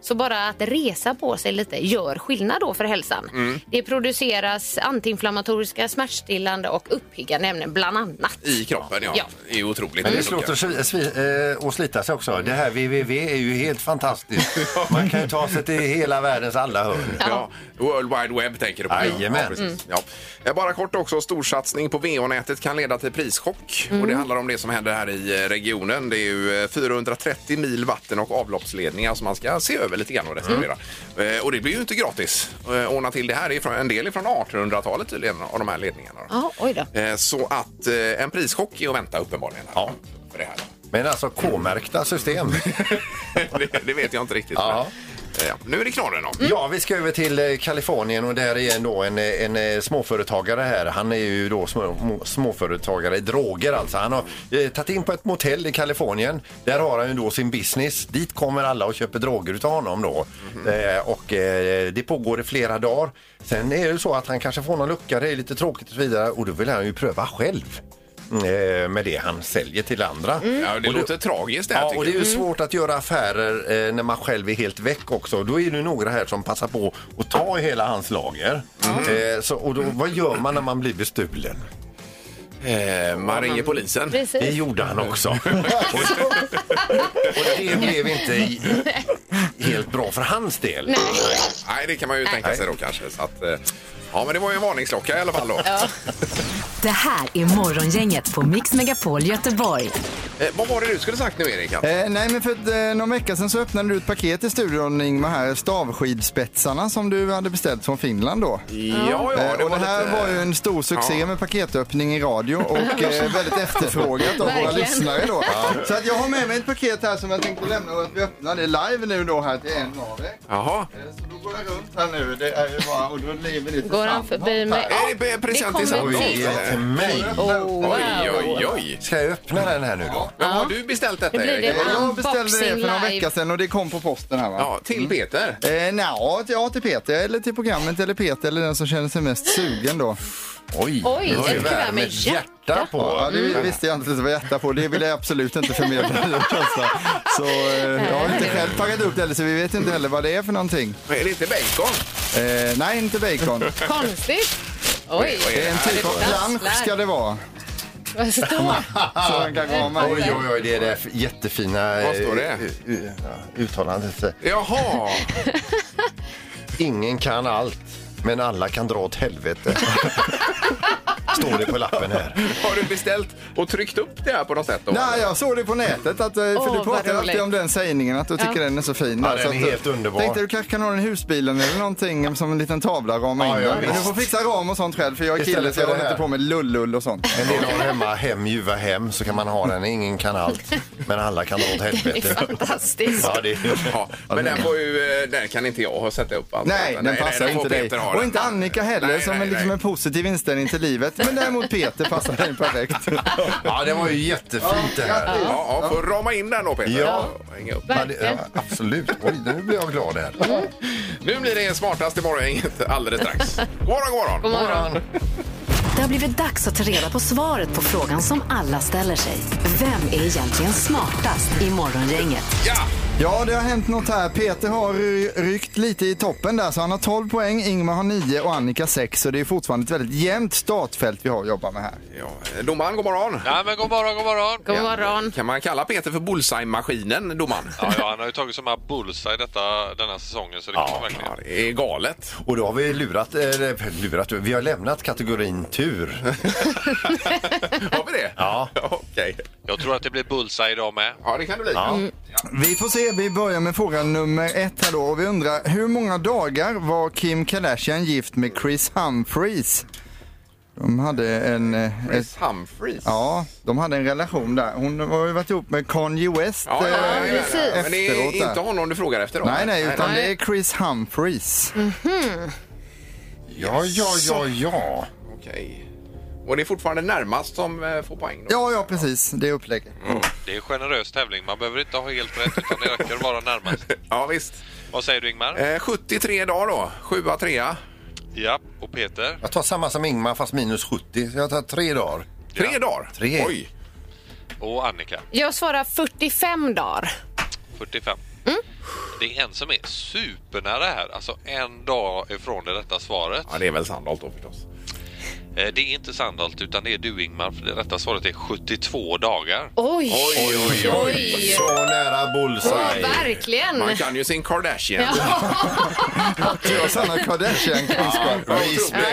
Speaker 5: Så bara att resa på sig lite gör skillnad då för hälsan. Det produceras antiinflammatoriska, smärtstillande och uppiggande ämnen bland annat.
Speaker 4: I kroppen ja.
Speaker 5: Ja.
Speaker 4: Det är ju otroligt.
Speaker 6: Men det är svårt att svi- svi- eh, och slita sig också. Det här www är ju helt fantastiskt. Man kan ju ta sig till hela världens alla hörn.
Speaker 4: Ja, World Wide Web tänker du på.
Speaker 6: Jajamän. Mm.
Speaker 4: Ja, precis. ja. Eh, Bara kort också, storsatsning på VH-nätet kan leda till prischock.
Speaker 6: Mm.
Speaker 4: Och det handlar om det som händer här i eh, regionen. Det är ju eh, 430 mil vatten och avloppsledningar som man ska se över lite grann
Speaker 6: Mm.
Speaker 4: och restaurera. Eh, Och det blir ju inte gratis att ordna till det här. Det är från- en del är från 1800-talet tydligen av de här ledningarna. då.
Speaker 5: Ja, oj då.
Speaker 4: Eh, Så att eh, en prischock är att vänta uppenbarligen. här.
Speaker 6: Ja.
Speaker 4: För det, här.
Speaker 6: Men alltså K-märkta system.
Speaker 4: det, det vet jag inte riktigt.
Speaker 6: Ja. Mm.
Speaker 4: men, eh, Nu är det knorren då.
Speaker 6: Ja, vi ska över till eh, Kalifornien och där är ändå en, eh, en eh, småföretagare här. Han är ju då små, mo- småföretagare i droger alltså. Han har eh, tagit in på ett motell i Kalifornien. Där har han ju då sin business. Dit kommer alla och köper droger utav honom då. Eh, och eh, det pågår i flera dagar. Sen är det ju så att han kanske får någon lucka, det är lite tråkigt och så vidare. Och då vill han ju pröva själv eh, med det han säljer till andra.
Speaker 4: Ja, det
Speaker 6: Och då-
Speaker 4: låter tragiskt det här
Speaker 6: Ja,
Speaker 4: tycker
Speaker 6: och det är ju svårt att göra affärer eh, när man själv är helt väck också. Då är det ju några här som passar på att ta i hela hans lager. Eh, så, och då, vad gör man när man blir bestulen?
Speaker 4: jag. Eh, Man ringer polisen.
Speaker 6: Det
Speaker 5: Precis.
Speaker 6: gjorde han också. och, det blev inte i- helt bra för hans del.
Speaker 4: Nej, det kan man ju tänka sig då kanske. Så att, eh, ja, men det var ju en varningsklocka i alla fall då.
Speaker 3: Det här är Morgongänget på Mix Megapol Göteborg.
Speaker 4: Eh, vad var det du skulle sagt nu, Erik? Att-
Speaker 7: Eh, nej, men för att, eh, någon vecka sedan så öppnade du ett paket i studion Ingmar här, stavskidspetsarna som du hade beställt från Finland då.
Speaker 4: Ja,
Speaker 7: Eh, och det här
Speaker 4: lite-
Speaker 7: var ju en stor succé
Speaker 4: Ja.
Speaker 7: med paketöppning i radio och eh, väldigt efterfrågat av våra
Speaker 5: Verkligen.
Speaker 7: lyssnare då. Så att jag har med mig ett paket här som jag tänkte lämna och att vi öppnar det live nu då här till en av er.
Speaker 4: Jaha.
Speaker 7: Eh, Så då går jag runt här nu, det är ju bara, och då blir vi lite
Speaker 5: Går han förbi
Speaker 7: samtal här.
Speaker 5: mig?
Speaker 4: Är det present i
Speaker 5: kommer
Speaker 4: samtal?
Speaker 5: till.
Speaker 6: Oj, till mig.
Speaker 5: Oh, wow.
Speaker 4: Oj, oj, oj.
Speaker 6: Ska jag öppna den här nu då?
Speaker 7: Ja.
Speaker 4: Men har du beställt detta
Speaker 5: Nu blir det
Speaker 4: Erik?
Speaker 5: en-
Speaker 7: Eh, Jag beställde det
Speaker 5: Unboxing
Speaker 7: för några
Speaker 5: live.
Speaker 7: vecka sedan och det kom på posten här va?
Speaker 4: Ja, till Peter.
Speaker 7: Eh, nja, ja, till Peter eller till programmet eller Peter eller den som känner sig mest sugen då.
Speaker 6: Oj,
Speaker 5: Oj,
Speaker 6: det var ju
Speaker 5: ett kuvert
Speaker 6: värme.
Speaker 5: med hjärta.
Speaker 6: på. Mm.
Speaker 7: Ja, det visste jag inte att det var hjärta på. Det vill jag absolut inte förmedla. det första. så eh, jag har inte själv packat upp det heller så vi vet inte heller vad det är för någonting.
Speaker 4: Är det inte bacon?
Speaker 7: Eh, nej, inte bacon.
Speaker 5: Konstigt. Oj,
Speaker 4: Oj,
Speaker 7: Det är en typ av plansch ska det vara.
Speaker 5: vad står
Speaker 7: Så man kan gå med.
Speaker 6: Oj, oj, oj, det är det f- jättefina
Speaker 4: Vad står det?
Speaker 6: eh, eh, eh, uttalandet.
Speaker 4: Jaha!
Speaker 6: Ingen kan allt, men alla kan dra åt helvete. Står det på lappen här.
Speaker 4: Har du beställt och tryckt upp det här på något sätt? Då?
Speaker 7: Nej, jag såg det på nätet. Att, eh, för
Speaker 5: Åh,
Speaker 7: du
Speaker 5: vad
Speaker 7: pratar alltid
Speaker 5: roligt.
Speaker 7: om den sägningen, att du tycker den är så fin.
Speaker 6: Ja,
Speaker 7: där,
Speaker 6: den
Speaker 7: så
Speaker 6: är
Speaker 7: att,
Speaker 6: helt underbar.
Speaker 7: Tänkte du kanske kan ha den i husbilen eller någonting som en liten tavla rama in
Speaker 6: Ja, ja,
Speaker 7: den. Men du
Speaker 6: visst.
Speaker 7: får fixa ram och sånt själv, för jag är kille
Speaker 6: Istället
Speaker 7: så jag
Speaker 6: för det
Speaker 7: håller inte på
Speaker 6: här.
Speaker 7: med lullull och sånt.
Speaker 6: En del har hemma hem, ljuva hem, så kan man ha den. Ingen kan allt, men alla kan dra åt
Speaker 5: det?
Speaker 6: helvete.
Speaker 5: Fantastiskt.
Speaker 6: Ja, det är...
Speaker 4: Ja, men den var ju, eh, den kan inte jag ha satt upp alltså. alls.
Speaker 7: Nej, den passar
Speaker 4: den får
Speaker 7: inte dig.
Speaker 4: Peter ha
Speaker 7: Och
Speaker 4: den.
Speaker 7: inte Annika heller
Speaker 4: Nej,
Speaker 7: som
Speaker 4: nej,
Speaker 7: är liksom
Speaker 4: nej.
Speaker 7: en positiv inställning till livet. Men däremot Peter passar dig perfekt.
Speaker 6: ja, det var ju jättefint det här.
Speaker 4: Ja, ja, får rama in den då Peter.
Speaker 6: Ja.
Speaker 4: Och Hänga upp.
Speaker 6: Ja, det- ja, absolut. Oj, nu blir jag glad här.
Speaker 4: Mm, Nu blir det smartast i morgongänget alldeles strax. God morgon, god morgon.
Speaker 5: God morgon.
Speaker 3: Det har blivit dags att ta reda på svaret på frågan som alla ställer sig. Vem är egentligen smartast i Morgongänget?
Speaker 4: Ja!
Speaker 7: Ja, det har hänt något här. Peter har ry- ryckt lite i toppen där, så han har 12 poäng, Ingmar har 9 och Annika 6. Så det är fortfarande ett väldigt jämnt startfält vi har att jobba med här.
Speaker 4: ja. Domaren, god morgon.
Speaker 10: Nej, men god morgon, god morgon.
Speaker 5: God morgon.
Speaker 4: Kan man kalla Peter för bullseye-maskinen, domaren?
Speaker 10: Ja, ja, han har ju tagit så många bullseye detta, denna säsongen så det kan man verkligen.
Speaker 4: Ja, det är galet.
Speaker 6: Och då har vi lurat, eh, eller lurat, vi har lämnat kategorin tur.
Speaker 4: Har vi det?
Speaker 6: Ja.
Speaker 4: Okej.
Speaker 10: Jag tror att det blir bullseye idag med.
Speaker 4: Ja, det kan det bli.
Speaker 6: Ja.
Speaker 7: Mm. Vi får se, vi börjar med fråga nummer ett här då. Och vi undrar, hur många dagar var Kim Kardashian gift med Chris Humphries? De hade en... eh, ett-
Speaker 4: Chris Humphries.
Speaker 7: Ja, de hade en relation där. Hon har ju varit ihop med Kanye West
Speaker 4: Ja, ja, ja,
Speaker 7: eh,
Speaker 4: ja, ja. Men det är
Speaker 7: efteråt. där.
Speaker 4: inte honom du frågar efter då?
Speaker 7: Nej, nej, utan
Speaker 5: nej.
Speaker 7: det är Chris Humphries.
Speaker 5: Mm.
Speaker 6: Ja, ja, ja, ja.
Speaker 4: Okej. Och det är fortfarande närmast som eh, får poäng då?
Speaker 7: Ja, ja, precis. Det är upplägget.
Speaker 4: Mm.
Speaker 10: Det är en generös tävling. Man behöver inte ha helt rätt utan det räcker att vara närmast.
Speaker 4: Ja, visst.
Speaker 10: Vad säger du Ingmar?
Speaker 4: Eh, 73 dagar då. 7 trea.
Speaker 10: Ja, och Peter?
Speaker 6: Jag tar samma som Ingmar fast minus 70. Så jag tar tre dagar.
Speaker 4: Tre dagar?
Speaker 6: Tre.
Speaker 4: Oj.
Speaker 10: Och Annika?
Speaker 5: Jag svarar 45 dagar.
Speaker 10: 45. Det är en som är supernära här, alltså en dag ifrån det rätta svaret.
Speaker 4: Ja, det är väl Sandholt då förstås.
Speaker 10: Eh, Det är inte Sandholt utan det är du Ingmar för det rätta svaret är 72 dagar.
Speaker 5: Oj!
Speaker 4: Oj, oj, oj.
Speaker 6: Så nära bullseye.
Speaker 5: Verkligen!
Speaker 4: Man kan ju sin Kardashian.
Speaker 7: Jag sannar Kardashian-kunskap.
Speaker 5: Ja,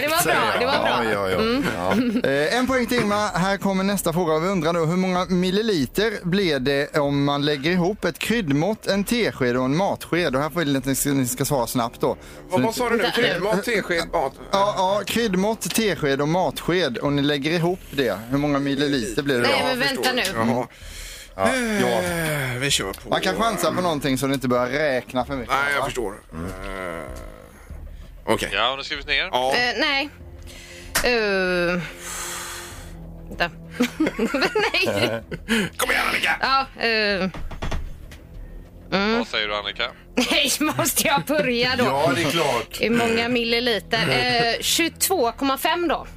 Speaker 5: det var bra, det var bra. Mm.
Speaker 6: Ja, ja, ja. Ja.
Speaker 7: Eh, En poäng till Ingmar. Här kommer nästa fråga. Vi undrar då hur många milliliter blir det om man lägger ihop ett kryddmått, en tesked och en matsked? Och här får ni att ni ska- ni ska svara snabbt då.
Speaker 4: Vad vad sa du nu? Kryddmat, tesked, mat?
Speaker 7: Ja, ja, kryddmått, tesked och matsked och ni lägger ihop det. Hur många milliliter blir det
Speaker 5: Nej,
Speaker 7: då?
Speaker 5: men vänta nu.
Speaker 4: Jaha.
Speaker 6: ja.
Speaker 4: Eh, Vi kör på...
Speaker 7: Man kan chansa på någonting så du inte börjar räkna för mycket.
Speaker 4: Nej, jag
Speaker 7: va?
Speaker 4: förstår. Eh, Okej.
Speaker 10: Ja, har ni skrivit ner?
Speaker 4: Ja.
Speaker 5: Eh, nej. Uh... Vänta. nej!
Speaker 4: Kom igen Annika!
Speaker 5: Ja, eh, Mm.
Speaker 10: Vad säger du Annika?
Speaker 5: nej, måste jag börja då?
Speaker 6: ja, det är klart.
Speaker 5: Hur många milliliter? Eh, 22,5 då.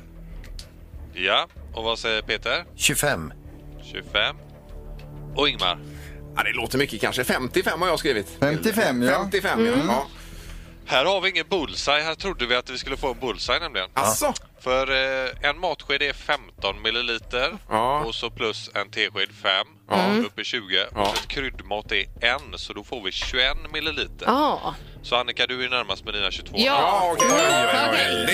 Speaker 10: Ja, och vad säger Peter?
Speaker 6: 25.
Speaker 10: 25. Och Ingmar?
Speaker 4: Ja, det låter mycket kanske. 55 har jag skrivit.
Speaker 7: 55, ja.
Speaker 4: 55 ja. ja.
Speaker 10: Här har vi ingen bullseye. Här trodde vi att vi skulle få en bullseye nämligen.
Speaker 4: Alltså.
Speaker 10: För eh, en matsked är 15 milliliter
Speaker 4: Ja.
Speaker 10: och så plus en tesked 5
Speaker 5: Mm.
Speaker 10: upp i 20.
Speaker 4: Ja.
Speaker 10: Och så ett kryddmått är en så då får vi 21 milliliter.
Speaker 5: Ja.
Speaker 10: Så Annika du är närmast med dina 22.
Speaker 5: Ja.
Speaker 4: Ja, okej.
Speaker 5: Mm.
Speaker 4: Det är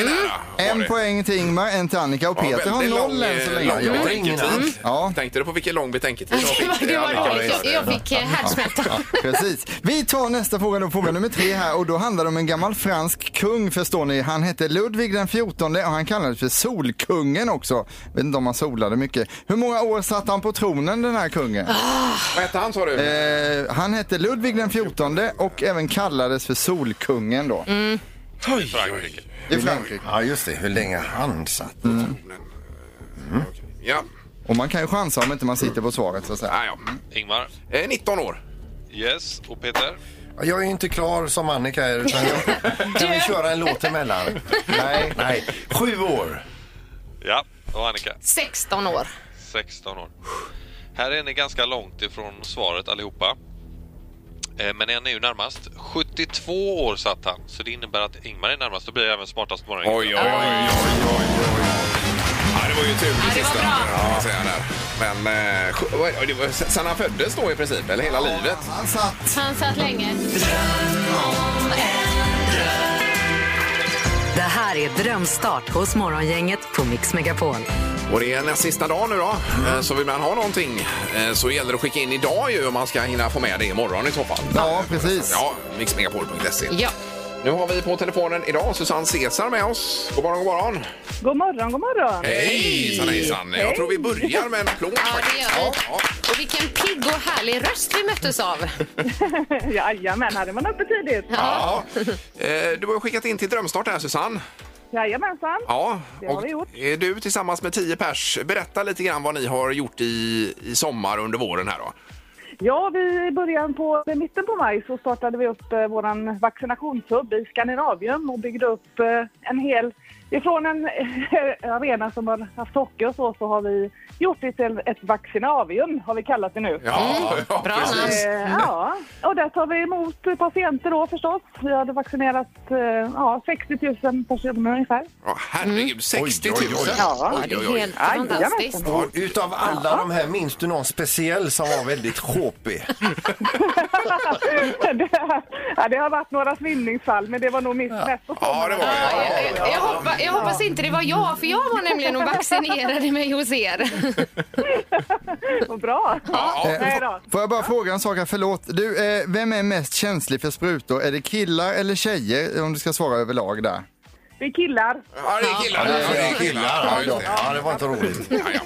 Speaker 4: nära. var
Speaker 7: En
Speaker 4: det.
Speaker 7: poäng till Ingmar, en till Annika och
Speaker 4: Ja,
Speaker 7: Peter har
Speaker 4: väldigt
Speaker 7: noll
Speaker 4: lång,
Speaker 7: än så
Speaker 4: eh,
Speaker 7: länge.
Speaker 4: lång
Speaker 7: Ja,
Speaker 6: har
Speaker 4: betänketid.
Speaker 6: ingen alls.
Speaker 7: Ja.
Speaker 4: Tänkte du på vilken lång betänketid jag
Speaker 5: Det
Speaker 4: fick?
Speaker 5: var, det var
Speaker 4: Ja,
Speaker 5: dåligt. Jag, jag fick eh, härdsmälta.
Speaker 7: Precis. Vi tar nästa fråga då, fråga nummer tre här och då handlar det om en gammal fransk kung förstår ni. Han hette Ludvig den 14 och han kallades för Solkungen också. Vet inte om han solade mycket. Hur många år satt han på tronen den här kungen?
Speaker 4: Vad hette han sa du?
Speaker 7: Eh, han hette Ludvig den 14 och även kallades för Solkungen då.
Speaker 10: Frankrike.
Speaker 7: I Frankrike.
Speaker 6: Ja, just det. Hur länge han satt.
Speaker 4: Ja.
Speaker 7: Och man kan ju chansa om inte man sitter på svaret så att säga.
Speaker 4: Ah, ja.
Speaker 10: Ingmar.
Speaker 4: Eh, 19 år.
Speaker 10: Yes. Och Peter?
Speaker 6: Ja, Jag är ju inte klar som Annika är, utan jag kan vi köra en låt emellan. Nej, nej. Sju år.
Speaker 10: Ja. Och Annika?
Speaker 5: 16 år.
Speaker 10: 16 år. Här är ni ganska långt ifrån svaret allihopa. Eh, Men en är ju närmast. 72 år satt han, så det innebär att Ingmar är närmast. Då blir jag även smartast på morgonen.
Speaker 4: oj, oj, oj, oj. Ja, det var ju tur det,
Speaker 5: det var
Speaker 4: sista.
Speaker 5: bra.
Speaker 4: kan man säga där. Men eh, sj- vad är det? det var, sen han föddes då i princip, eller hela livet?
Speaker 7: Han satt.
Speaker 5: Han satt länge.
Speaker 3: Det här är Drömstart hos Morgongänget på Mix Megapol.
Speaker 4: Och det är näst sista dagen nu då. Eh, Så vill man ha någonting eh, så gäller det att skicka in idag ju om man ska hinna få med det imorgon i så fall.
Speaker 7: Ja, precis.
Speaker 4: Ja, mixmegapol.se.
Speaker 5: Ja.
Speaker 4: Nu har vi på telefonen idag Susanne Cesar med oss. God morgon, god morgon.
Speaker 2: God morgon, god morgon.
Speaker 4: Hej! Hejsan, hejsan. Jag tror vi börjar med en applåd.
Speaker 5: Ja, det gör vi. Och vilken pigg och härlig röst vi möttes av.
Speaker 2: Jajamän, hade man uppe tidigt.
Speaker 4: Ja. Ja. Eh, Du har ju skickat in till Drömstart här Susanne.
Speaker 2: Jajamensan.
Speaker 4: Ja,
Speaker 2: Det har vi gjort.
Speaker 4: eh, du tillsammans med 10 pers, berätta lite grann vad ni har gjort i, i sommar under våren här då.
Speaker 2: Ja, vi i början på, i mitten på maj så startade vi upp eh, vår vaccinationshub i Skandinavien och byggde upp eh, en hel... Ifrån en eh, arena som har haft hockey och så, så har vi gjort det till ett vaccinavium, har vi kallat det nu.
Speaker 4: Ja, ja
Speaker 5: Bra namn.
Speaker 2: Eh, ja, och där tar vi emot patienter då förstås. Vi hade vaccinerat eh, ja, 60 000 personer ungefär.
Speaker 4: Ja, herregud, 60 000!
Speaker 6: Oj, oj, oj.
Speaker 2: Ja.
Speaker 5: Ja, det är helt
Speaker 2: Jajamän.
Speaker 5: fantastiskt.
Speaker 6: Ja, utav alla de här, minns du någon speciell som var väldigt sjåpig?
Speaker 2: det, ja, det har varit några svindlingsfall, men det var nog mitt mest.
Speaker 4: Ja, det var
Speaker 5: Ja,
Speaker 4: det.
Speaker 5: jag, jag, jag, hoppas, jag hoppas inte det var jag, för jag var nämligen och vaccinerade mig hos er.
Speaker 2: Vad bra!
Speaker 4: Ja,
Speaker 7: Eh,
Speaker 2: Nej då.
Speaker 7: Får jag bara fråga en sak här, förlåt. Du, eh, vem är mest känslig för sprutor? Är det killar eller tjejer? Om du ska svara överlag där.
Speaker 2: Vi killar.
Speaker 4: ja, det är killar.
Speaker 6: Ja,
Speaker 4: det är killar. Ja, just det.
Speaker 6: Ja, det var inte roligt.
Speaker 4: Ja, ja.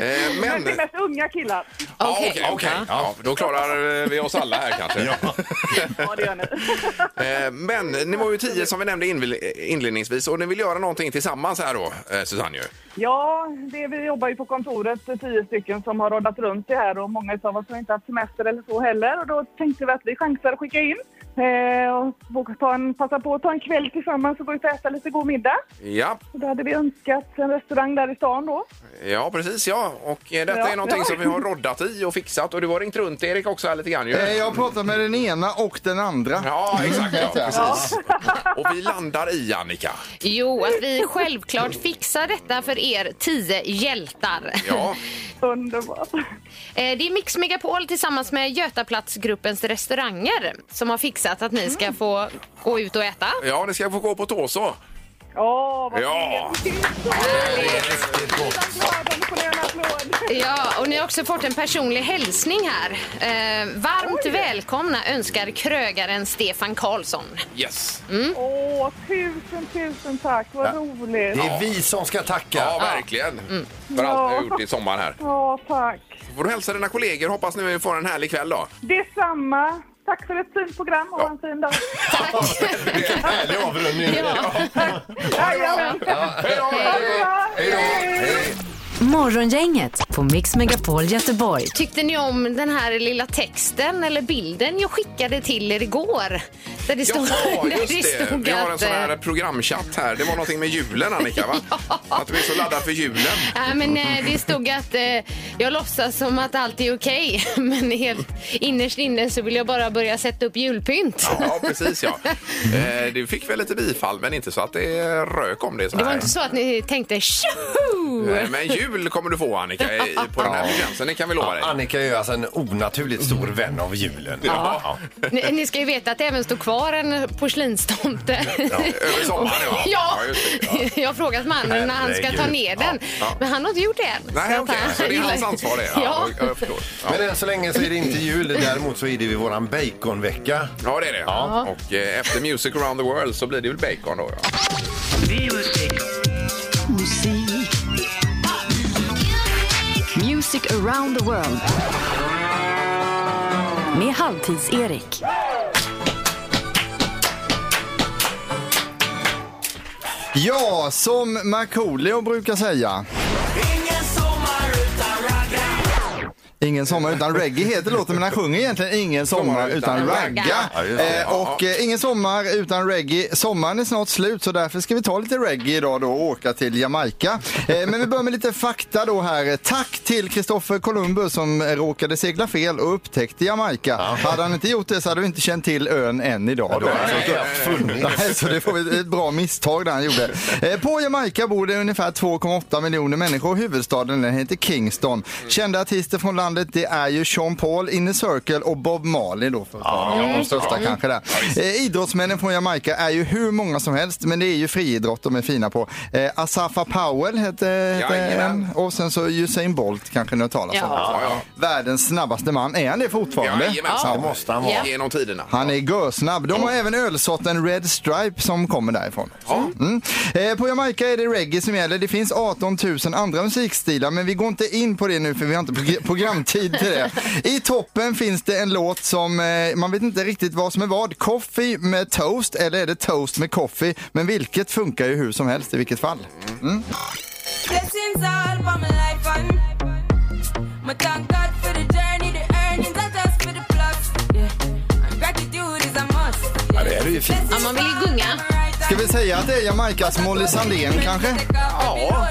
Speaker 4: Eh,
Speaker 2: Men det är
Speaker 4: Men...
Speaker 2: mest unga killar.
Speaker 4: Ja,
Speaker 5: Okej.
Speaker 4: Okej, okej. Ja, då klarar eh, vi oss alla här kanske.
Speaker 2: Ja, det gör ni.
Speaker 4: Eh, Men ni var ju tio som vi nämnde invi- inledningsvis och ni vill göra någonting tillsammans här då, eh, Susanne ju.
Speaker 2: Ja, det, vi jobbar ju på kontoret, tio stycken som har roddat runt det här och många av oss har inte haft semester eller så heller. Och då tänkte vi att vi chansar att skicka in eh, och våga ta en, passa på att ta en kväll tillsammans och gå ut och äta lite god middag.
Speaker 4: Ja,
Speaker 2: Och då hade vi önskat en restaurang där i stan då.
Speaker 4: ja precis ja. Och eh, detta
Speaker 2: Ja.
Speaker 4: är någonting som vi har roddat i och fixat och du har ringt runt Erik också här lite grann ju.
Speaker 7: Eh, jag har pratat med den ena och den andra.
Speaker 4: Ja, exakt ja, precis. Och vi landar i Annika.
Speaker 5: Jo, att vi självklart fixar detta för er tio hjältar.
Speaker 4: Ja,
Speaker 2: Underbart.
Speaker 5: Eh, Det är Mix Megapol tillsammans med Götaplatsgruppens restauranger som har fixat att ni ska få gå ut och äta.
Speaker 4: ja ni ska få gå på tå så.
Speaker 2: Åh, vad
Speaker 4: Ja.
Speaker 2: fint! Glad om du får en applåd.
Speaker 5: Ja, och ni har också fått en personlig hälsning här. Eh, varmt välkomna önskar krögaren Stefan Karlsson.
Speaker 4: Yes.
Speaker 2: Åh, tusen, tusen tack. Vad roligt.
Speaker 6: Det är vi som ska
Speaker 4: Ja,
Speaker 6: tacka.
Speaker 4: verkligen. För allt ni har gjort i sommar här.
Speaker 2: Ja, tack.
Speaker 4: Får du hälsa dina kollegor. Hoppas ni får en härlig kväll då.
Speaker 2: Detsamma. Tack för ett fint program och ha en fin dag.
Speaker 6: Härlig avrundning.
Speaker 2: Jajamän.
Speaker 4: Hej då!
Speaker 2: Ha det bra. Hej.
Speaker 3: Morgongänget på Mix Megapol Göteborg.
Speaker 5: Tyckte ni om den här lilla texten eller bilden jag skickade till er igår? Där det stod,
Speaker 4: Jaha,
Speaker 5: där
Speaker 4: just det. Vi har en
Speaker 5: att,
Speaker 4: sån
Speaker 5: eh,
Speaker 4: här programchatt här. Det var någonting med julen, Annika, va? Att du är så laddad för julen.
Speaker 5: Nej, men eh, det stod att eh, jag låtsas som att allt är okej, men helt innerst inne så vill jag bara börja sätta upp julpynt.
Speaker 4: Ja, precis ja. Eh, Du fick väl lite bifall, men inte så att det rök om det så
Speaker 5: Det var
Speaker 4: här.
Speaker 5: inte så att ni tänkte tjoho!
Speaker 4: Eh, Men jul kommer du få, Annika, i- i- på den här gränsen. Det kan vi lova dig.
Speaker 6: Annika är ju alltså en onaturligt stor vän av julen. Ja.
Speaker 5: Ni, ni ska ju veta att det även står kvar en porslinstomte.
Speaker 4: Över sommaren, ja.
Speaker 5: Ja,
Speaker 4: just det.
Speaker 5: jag har frågat mannen när han ska ta ner den, men han har inte gjort det än.
Speaker 4: Nej,
Speaker 5: Så att
Speaker 4: okej.
Speaker 5: han-
Speaker 4: Så det är hans ansvar det?
Speaker 5: Ja.
Speaker 4: jag- jag förstår. Ja.
Speaker 6: Men än så länge så är det inte jul, däremot så är det ju våran baconvecka.
Speaker 4: Ja, det är det. Ja. Och eh, efter Music around the world så blir det väl bacon då. Ja.
Speaker 3: Music around the world. Med Halvtids-Erik.
Speaker 7: Ja, som Markoolio brukar säga.
Speaker 8: Ingen sommar utan
Speaker 7: Ingen sommar utan reggae heter låten men han sjunger egentligen Ingen sommar utan ragga.
Speaker 6: Ja, just det.
Speaker 7: Eh, och eh, Ingen sommar utan reggae. Sommaren är snart slut så därför ska vi ta lite reggae idag då och åka till Jamaica. Eh, men vi börjar med lite fakta då här. Tack till Kristoffer Columbus som råkade segla fel och upptäckte Jamaica. Hade han inte gjort det så hade vi inte känt till ön än idag.
Speaker 6: Då har han
Speaker 7: Nej.
Speaker 6: alltså knappt funnits.
Speaker 7: Nej, så det får vi ett bra misstag där han gjorde. Eh, På Jamaica bor det ungefär 2,8 miljoner människor. Huvudstaden den heter Kingston. Kända artister från landet det är ju Sean Paul, Inner Circle och Bob Marley då för att ta de största kanske där. Eh, Idrottsmännen från Jamaica är ju hur många som helst men det är ju friidrott de är fina på. Eh, Asafa Powell heter, heter en
Speaker 4: Jajamän.
Speaker 7: och sen så Usain Bolt kanske ni har talat om.
Speaker 5: Ja.
Speaker 4: Ja,
Speaker 7: Världens snabbaste man, är han det fortfarande?
Speaker 4: Jajamensan.
Speaker 6: Det måste han vara.
Speaker 5: Ja.
Speaker 4: Genom tiderna.
Speaker 7: Han är görsnabb. De har även ölsorten Red Stripe som kommer därifrån. Mm. Eh, på Jamaica är det reggae som gäller. Det finns 18 000 andra musikstilar men vi går inte in på det nu för vi har inte prog- programtid till det. I toppen finns det en låt som eh, man vet inte riktigt vad som är vad. Coffee med toast eller är det toast med coffee? Men vilket funkar ju hur som helst i vilket fall.
Speaker 8: Blessings all for my life and my thank God for the journey, the earnings, not just for the plus. Yeah, and gratitude is a must.
Speaker 6: Ja, det är ju fint.
Speaker 5: Ja, man vill ju gunga.
Speaker 7: Ska vi säga att det är Jamaicas Molly Sandén kanske?
Speaker 8: Ja.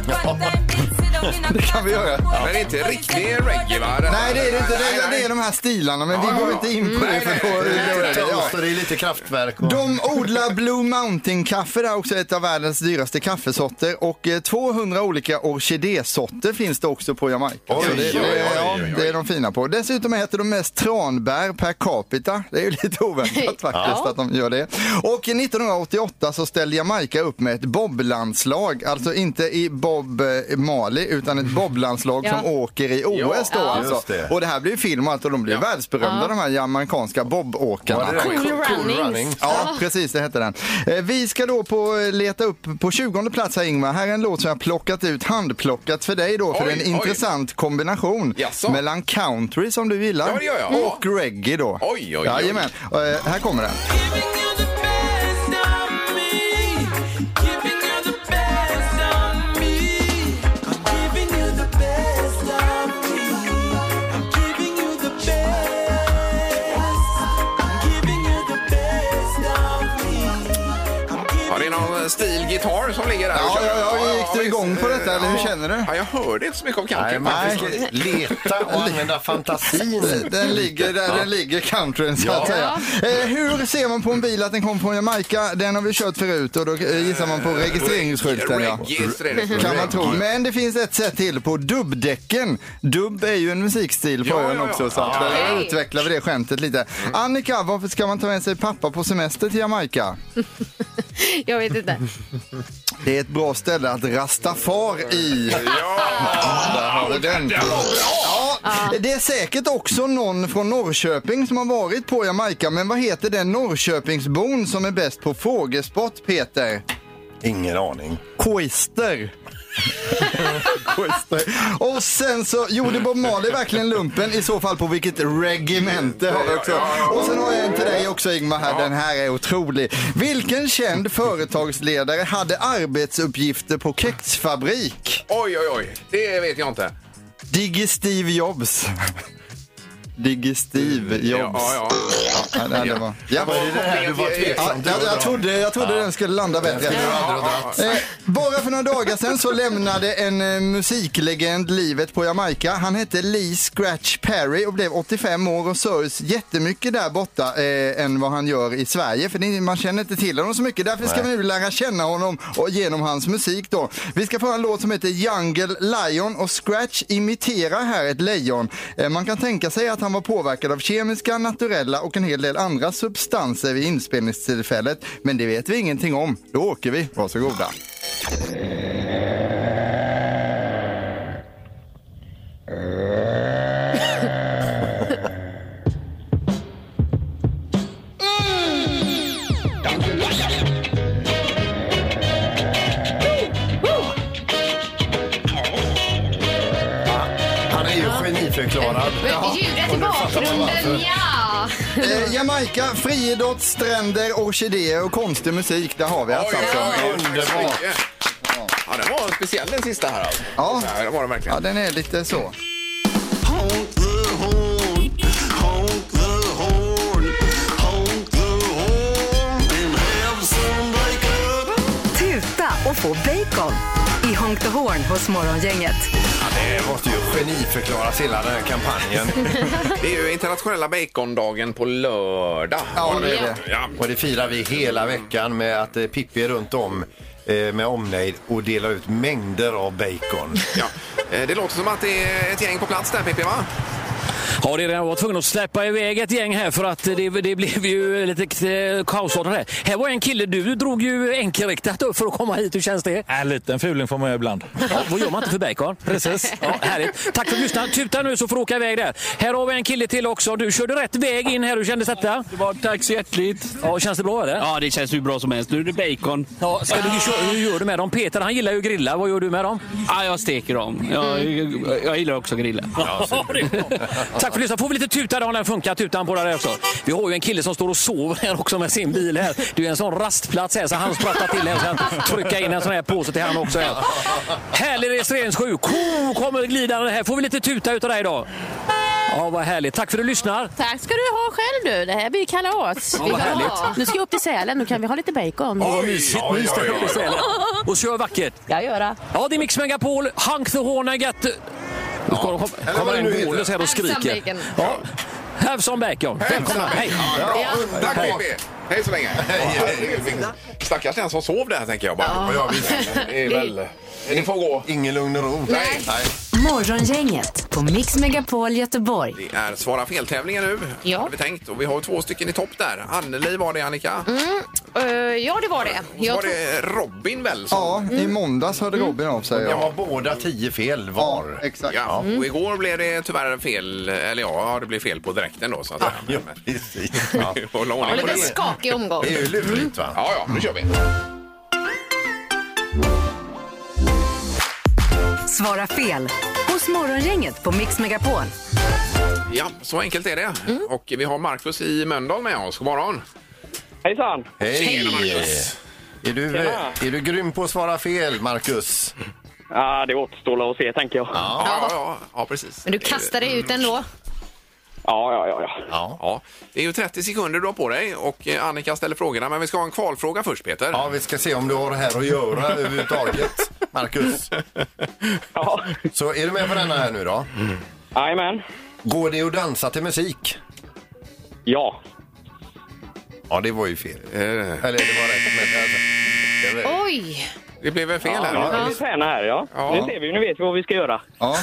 Speaker 7: Det kan vi göra.
Speaker 4: Men det är inte riktig reggae va? Det här-
Speaker 7: Nej det är det inte. Det är,
Speaker 4: Nej,
Speaker 7: det är de här stilarna men
Speaker 4: Ja,
Speaker 7: vi går
Speaker 4: ja,
Speaker 7: inte in på
Speaker 4: ja.
Speaker 7: det
Speaker 4: Nej,
Speaker 7: för då...
Speaker 4: nej, nej,
Speaker 7: då är det- ja.
Speaker 6: Ja, så det är lite kraftverk. Och...
Speaker 7: De odlar Blue Mountain-kaffe, det är också ett av världens dyraste kaffesorter. Och eh, 200 olika orkidésorter finns det också på Jamaica.
Speaker 6: Oj,
Speaker 7: Så det,
Speaker 6: oj, oj, oj,
Speaker 7: ja,
Speaker 6: oj.
Speaker 7: det är de fina på. Dessutom äter de mest tranbär per capita. Det är ju lite oväntat faktiskt
Speaker 5: Ja.
Speaker 7: att de gör det. Och 1988 så ställde Jamaica upp med ett boblandslag. Alltså inte i Bob eh, Mali utan ett boblandslag
Speaker 5: Ja.
Speaker 7: som åker i OS då.
Speaker 5: Ja.
Speaker 7: Alltså.
Speaker 6: Just det.
Speaker 7: Och det här blir ju film och allt och de blir världsberömda de här jamaicanska bobåkarna.
Speaker 6: Var det
Speaker 5: Cool,
Speaker 6: Cool
Speaker 5: runnings.
Speaker 6: runnings.
Speaker 7: Ja, precis. Det hette den. Eh, Vi ska då på, eh, leta upp på 20 plats här Ingmar. Här är en låt som jag har plockat ut, handplockat för dig då. För
Speaker 4: Oj,
Speaker 7: det är en
Speaker 4: oj.
Speaker 7: intressant kombination
Speaker 4: Jaså?
Speaker 7: mellan country som du gillar
Speaker 4: Ja, det gör jag.
Speaker 7: och reggae då.
Speaker 4: Oj, oj, oj.
Speaker 7: Jajamän. Eh, Här kommer den.
Speaker 4: Ja, det är någon stilgitarr som ligger där och
Speaker 7: Ja,
Speaker 4: kör.
Speaker 7: ja, ja, gick du
Speaker 4: visst.
Speaker 7: igång på detta eller hur känner du?
Speaker 4: Ja, jag hörde inte så mycket om
Speaker 6: Nej,
Speaker 4: country.
Speaker 6: man
Speaker 4: faktiskt.
Speaker 6: fick leta och använda fantasin.
Speaker 7: Den ligger där den ligger, countryn så att
Speaker 6: Ja.
Speaker 7: säga. Eh, hur ser man på en bil att den kommer från Jamaica? Den har vi kört förut och då eh, gissar man på registreringsskylten. Ja. Mm.
Speaker 4: Registrering.
Speaker 7: Kan man tro. Men det finns ett sätt till på dubbdäcken. Dubb är ju en musikstil på
Speaker 4: Ja,
Speaker 7: ön
Speaker 4: ja, ja. Mm.
Speaker 7: också så att
Speaker 5: Ja.
Speaker 7: där
Speaker 5: Okej.
Speaker 7: utvecklar vi det skämtet lite. Annika, varför ska man ta med sig pappa på semester till Jamaica?
Speaker 5: Jag vet inte.
Speaker 7: Det är ett bra ställe att rasta far i. Där har vi den. Ja, det är säkert också någon från Norrköping som har varit på Jamaica. Men vad heter den Norrköpingsbon som är bäst på frågesport, Peter?
Speaker 6: Ingen aning.
Speaker 7: Koister. Koister. Och sen så gjorde Bob Marley verkligen lumpen i så fall på vilket regemente har vi också. Och sen har jag en till dig också Ingmar här, den här är otrolig. Vilken känd företagsledare hade arbetsuppgifter på kexfabrik?
Speaker 4: Oj, oj, oj. Det vet jag inte.
Speaker 7: Digge Steve Jobs. Digge Steve Jobs.
Speaker 4: Ja, ja.
Speaker 7: Ja, nej, det var... ja.
Speaker 6: Vad är det här du var
Speaker 7: Ja,
Speaker 6: tveksam till?
Speaker 7: jag, jag trodde, jag trodde den skulle landa bättre. Eh, bara för några dagar sedan så lämnade en eh, musiklegend livet på Jamaica. Han hette Lee Scratch Perry och blev 85 år och sörjs jättemycket där borta eh, än vad han gör i Sverige. För det, man känner inte till honom så mycket. Därför ska vi nu lära känna honom och genom hans musik då. Vi ska få en låt som heter Jungle Lion och Scratch imiterar här ett lejon. Eh, man kan tänka sig att han var påverkad av kemiska, naturella och en hel del andra substanser vid inspelningstillfället. Men det vet vi ingenting om. Då åker vi. Varsågoda.
Speaker 6: Han är ju geniförklarad.
Speaker 5: Men ljudet i bakgrunden, ja.
Speaker 7: Eh, Jamaica, friidrott, stränder, orkidéer och konstig musik. Där har vi allt
Speaker 4: Oj,
Speaker 7: alltså.
Speaker 4: oj, oj. Tack så
Speaker 6: Underbart.
Speaker 4: mycket. Ja, den var speciell den sista här alltså.
Speaker 7: Ja.
Speaker 4: Den var den
Speaker 7: Ja,
Speaker 4: verkligen.
Speaker 7: den är lite så.
Speaker 8: Home,
Speaker 3: på bacon i Honk the Horn hos Morgongänget.
Speaker 6: Det måste ju geniförklaras hela den här kampanjen.
Speaker 4: Det är ju internationella bacondagen på lördag.
Speaker 6: Ja, det är det.
Speaker 4: Ja.
Speaker 6: Och det firar vi hela veckan med att eh, Pippi är runt om eh, med omnejd och delar ut mängder av bacon.
Speaker 4: Ja. Eh, Det låter som att det är ett gäng på plats där, Pippi, va?
Speaker 11: Ja, det är det. Jag var tvungen att släppa iväg ett gäng här för att det, det blev ju lite eh, kaosartat här. Här var en kille, du drog ju enkelriktat upp för att komma hit. Hur känns det?
Speaker 9: En Äh, liten fuling får man göra ibland.
Speaker 11: Ja, vad gör man inte för bacon? Precis. Ja, härligt. Tack för att du lyssnade. Tuta nu så får du åka iväg där. Här har vi en kille till också. Du körde rätt väg in här. Hur kändes detta?
Speaker 9: Det var, tack så hjärtligt.
Speaker 11: Ja, känns det bra eller?
Speaker 9: Ja, det känns hur bra som helst. Nu är det bacon.
Speaker 11: Ja, ska du, hur gör du med dem? Peter han gillar ju att grilla. Vad gör du med dem?
Speaker 9: Ja, jag steker dem. Jag, jag, jag gillar också att grilla.
Speaker 11: Ja, det är bra. Tack för att du lyssnade. Får vi lite tuta då om den funkar, tutan på där också. Vi har ju en kille som står och sover här också med sin bil här. Det är ju en sån rastplats här så han sprattar till här och sen trycka in en sån här påse till han också här. Härlig registreringssju. Ko Oh, kommer glidande här. Får vi lite tuta utav dig då? Ja, vad härligt. Tack för att du lyssnar.
Speaker 12: Tack ska du ha själv du. Det här blir kalas.
Speaker 11: vad härligt.
Speaker 12: Nu ska jag upp till Sälen. Nu kan vi ha lite bacon.
Speaker 4: Oj, oj,
Speaker 11: Mys där
Speaker 4: oj,
Speaker 11: uppe i
Speaker 4: oj.
Speaker 11: Sälen. Och så gör vackert.
Speaker 12: Jag gör det.
Speaker 11: Ja, det är Mix Megapol. Hank the Horn Gat... Nu kommer kom,
Speaker 6: Eller
Speaker 11: kommer
Speaker 6: vad det nu
Speaker 11: en
Speaker 6: heter.
Speaker 11: bonus här och skriker.
Speaker 5: bacon.
Speaker 11: Ja. Have some bacon. Välkomna. Hej.
Speaker 6: Ja,
Speaker 4: Tack,
Speaker 6: underbart!
Speaker 4: Pippi! Hej så länge. Stackars den som sov där, tänker jag bara.
Speaker 6: Ja, visst.
Speaker 4: Det är väl... Ni får gå.
Speaker 6: Ingen lugn och ro. Nej.
Speaker 3: Morgongänget på Mix Megapol Göteborg.
Speaker 4: Det är Svara fel-tävlingen nu,
Speaker 5: Ja.
Speaker 4: hade vi tänkt. Och vi har två stycken i topp där. Anneli var det, Annika.
Speaker 5: Eh, ja, det var det.
Speaker 4: Så
Speaker 5: Jag
Speaker 4: var
Speaker 5: tror-
Speaker 4: det Robin väl? Som...
Speaker 7: Ja, i måndags hörde Robin av sig.
Speaker 6: Jag
Speaker 7: Ja,
Speaker 6: har båda tio fel
Speaker 7: ja
Speaker 6: var.
Speaker 7: exakt.
Speaker 4: Ja, och igår blev det tyvärr fel, eller ja, det blev fel på direkten då så att säga.
Speaker 6: Ja,
Speaker 4: Men-
Speaker 6: precis. Ja.
Speaker 4: Vi får hålla ordning
Speaker 5: var
Speaker 4: på
Speaker 5: lite
Speaker 4: det.
Speaker 5: skakig omgång.
Speaker 6: Det är ju lurigt va?
Speaker 4: Ja, ja, nu kör vi.
Speaker 3: Svara fel hos Morgongänget på Mix Megapol.
Speaker 4: Ja, så enkelt är det. Och vi har Markus i Mölndal med oss. God morgon.
Speaker 9: Hejsan!
Speaker 6: Hej! Är du, är du grym på att svara fel, Marcus?
Speaker 9: Ja, det återstår att se, tänker jag. Ja,
Speaker 4: Ja, ja, ja, ja precis.
Speaker 5: Men du kastade dig ut ändå.
Speaker 9: ja, ja. ja.
Speaker 4: Ja, det är ju 30 sekunder du har på dig och eh, Annika ställer frågorna. Men vi ska ha en kvalfråga först, Peter.
Speaker 6: Ja, vi ska se om du har det här att göra överhuvudtaget, Marcus.
Speaker 9: ja.
Speaker 6: Så är du med på denna här nu då?
Speaker 9: Jajamän.
Speaker 6: Går det att dansa till musik?
Speaker 9: Ja.
Speaker 6: Ja, det var ju fel.
Speaker 4: Eh,
Speaker 6: Eller det var rätt, men alltså, det var-
Speaker 5: Oj!
Speaker 4: Det blev väl fel här? Ja,
Speaker 9: Vi tränar här, ja.
Speaker 4: Ja.
Speaker 9: Nu ser vi, nu vet vi vad vi ska göra.
Speaker 7: Ja.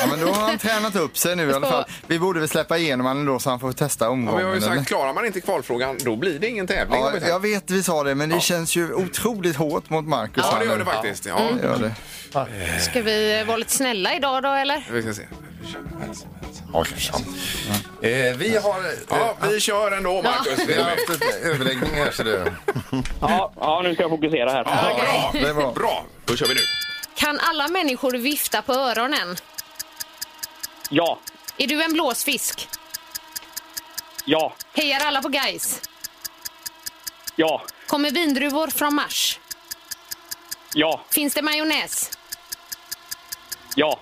Speaker 7: ja, men då har han tränat upp sig nu i alla fall. Vi borde väl släppa igenom honom då så han får testa
Speaker 4: vi har
Speaker 7: omgången.
Speaker 4: ju
Speaker 7: eller?
Speaker 4: sagt, klarar man inte kvalfrågan, då blir det ingen tävling. har
Speaker 7: Ja,
Speaker 4: vi sagt.
Speaker 7: jag vet vi sa det, men det känns ju otroligt hårt mot Marcus.
Speaker 4: ja
Speaker 7: här
Speaker 4: det gör
Speaker 7: nu.
Speaker 4: det faktiskt. Ja,
Speaker 7: Det gör det.
Speaker 5: Ska vi vara lite snälla idag då, eller?
Speaker 4: vi ska se.
Speaker 6: Ja, kanske. Eh, vi har... eh,
Speaker 4: Ja, vi kör ändå, Marcus.
Speaker 6: Vi har haft ett överläggning här, så det...
Speaker 9: Ja, ja nu ska jag fokusera här.
Speaker 4: Ja,
Speaker 7: Det är
Speaker 4: bra.
Speaker 7: bra.
Speaker 4: bra, då kör vi nu.
Speaker 5: Kan alla människor vifta på öronen?
Speaker 9: Ja,
Speaker 5: Är du en blåsfisk?
Speaker 9: ja,
Speaker 5: Hejar alla på guys?
Speaker 9: ja,
Speaker 5: Kommer vindruvor från Mars?
Speaker 9: ja,
Speaker 5: Finns det majonnäs?
Speaker 9: ja.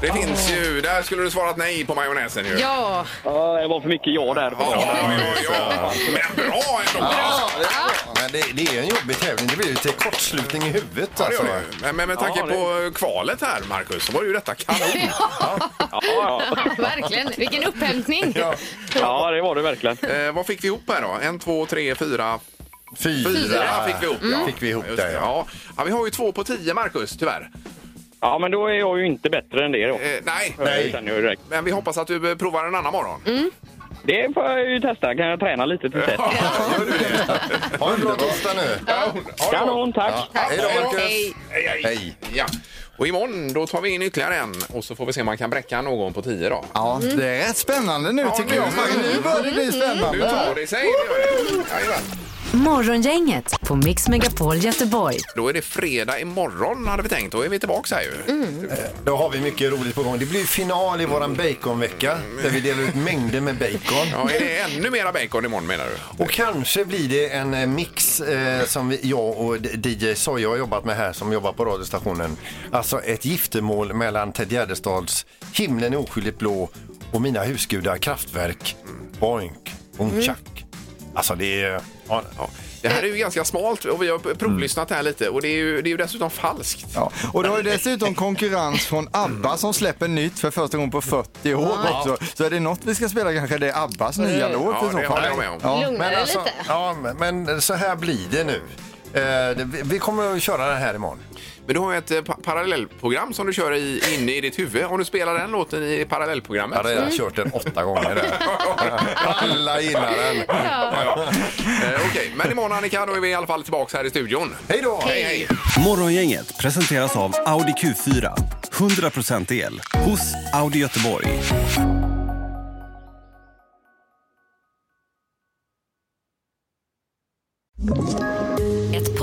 Speaker 4: Det finns ju... Där skulle du svarat nej på majonnäsen ju.
Speaker 5: Ja,
Speaker 9: Ja, Det var för mycket ja där.
Speaker 4: Ja, ja, ja. Men bra ändå!
Speaker 6: Men det, det är en jobbig tävling. Det blir lite kortslutning i huvudet.
Speaker 4: Ja, det
Speaker 6: Alltså.
Speaker 4: gör det ju. Men- Men med tanke
Speaker 9: Ja, det-
Speaker 4: på kvalet här, Markus, så var ju detta kanon.
Speaker 9: Ja,
Speaker 5: verkligen. Vilken upphämtning.
Speaker 9: ja, det var det verkligen.
Speaker 4: eh, vad fick vi ihop här då? En, två, tre, fyra.
Speaker 6: Fyra, Mm.
Speaker 4: Fyra fick vi ihop. Ja.
Speaker 6: Fick vi ihop
Speaker 4: Just
Speaker 6: där,
Speaker 4: det,
Speaker 6: ja.
Speaker 4: ja. ja. Vi har ju två på tio, Markus, tyvärr.
Speaker 9: Ja, men då är jag ju inte bättre än det då.
Speaker 4: Eh, nej.
Speaker 6: Nej.
Speaker 9: Utan nu direkt.
Speaker 4: Men vi hoppas att du eh, provar en annan morgon.
Speaker 6: Mm.
Speaker 9: Det får jag ju testa. Kan jag träna lite till dess?
Speaker 6: Ha en bra torsdag nu.
Speaker 4: Ja, ha det bra.
Speaker 9: Kanon, tack!
Speaker 6: Ja, hej då, Marcus.
Speaker 5: Hej.
Speaker 4: Hej, hej.
Speaker 6: Hej.
Speaker 4: Ja. Och imorgon då tar vi in ytterligare en och så får vi se om man kan bräcka någon på tio då.
Speaker 7: Ja, det är rätt spännande nu tycker
Speaker 4: nu-
Speaker 7: jag.
Speaker 4: Mm.
Speaker 7: Nu börjar det bli
Speaker 4: Nu
Speaker 7: spännande.
Speaker 4: tar det sig. det gör det. Jajamän.
Speaker 3: Morgongänget på Mix Megapol Göteborg.
Speaker 4: Då är det fredag imorgon hade vi tänkt. Då är vi tillbaka här ju.
Speaker 6: Mm. Då har vi mycket roligt på gång. Det blir final i våran baconvecka där vi delar ut mängder med bacon.
Speaker 4: Ja, är det ännu mera bacon imorgon menar du?
Speaker 6: Och kanske blir det en eh, mix eh, som vi, jag och D- DJ Soja har jobbat med här som jobbar på radiostationen. Alltså ett giftermål mellan Ted Gärdestads Himlen är oskyldigt blå och Mina husgudar kraftverk. Boink, boom, tjack. Alltså det är... Ja.
Speaker 4: Det här är ju ganska smalt och vi har provlyssnat här lite och det är ju, det är ju dessutom falskt.
Speaker 7: Ja. Och du har ju dessutom konkurrens från ABBA som släpper nytt för första gången på 40 år
Speaker 4: Ja.
Speaker 7: också. Så är det något vi ska spela kanske det är ABBAs nya låt i så fall.
Speaker 6: men alltså, Ja, men- men så här blir det nu. Eh, det- vi- Vi kommer att köra den här imorgon.
Speaker 4: Men du har ju ett eh, pa- parallellprogram som du kör i, inne i ditt huvud. Om du spelar den låten i parallellprogrammet.
Speaker 6: Jag har redan kört den åtta gånger. Där. Alla gillar den.
Speaker 4: Eh, Okej, men imorgon Annika, då är vi i alla fall tillbaka här i studion.
Speaker 6: Hej då!
Speaker 4: Hej, hej!
Speaker 13: Morgongänget presenteras av Audi Q4. 100% el hos Audi Göteborg.
Speaker 14: Ett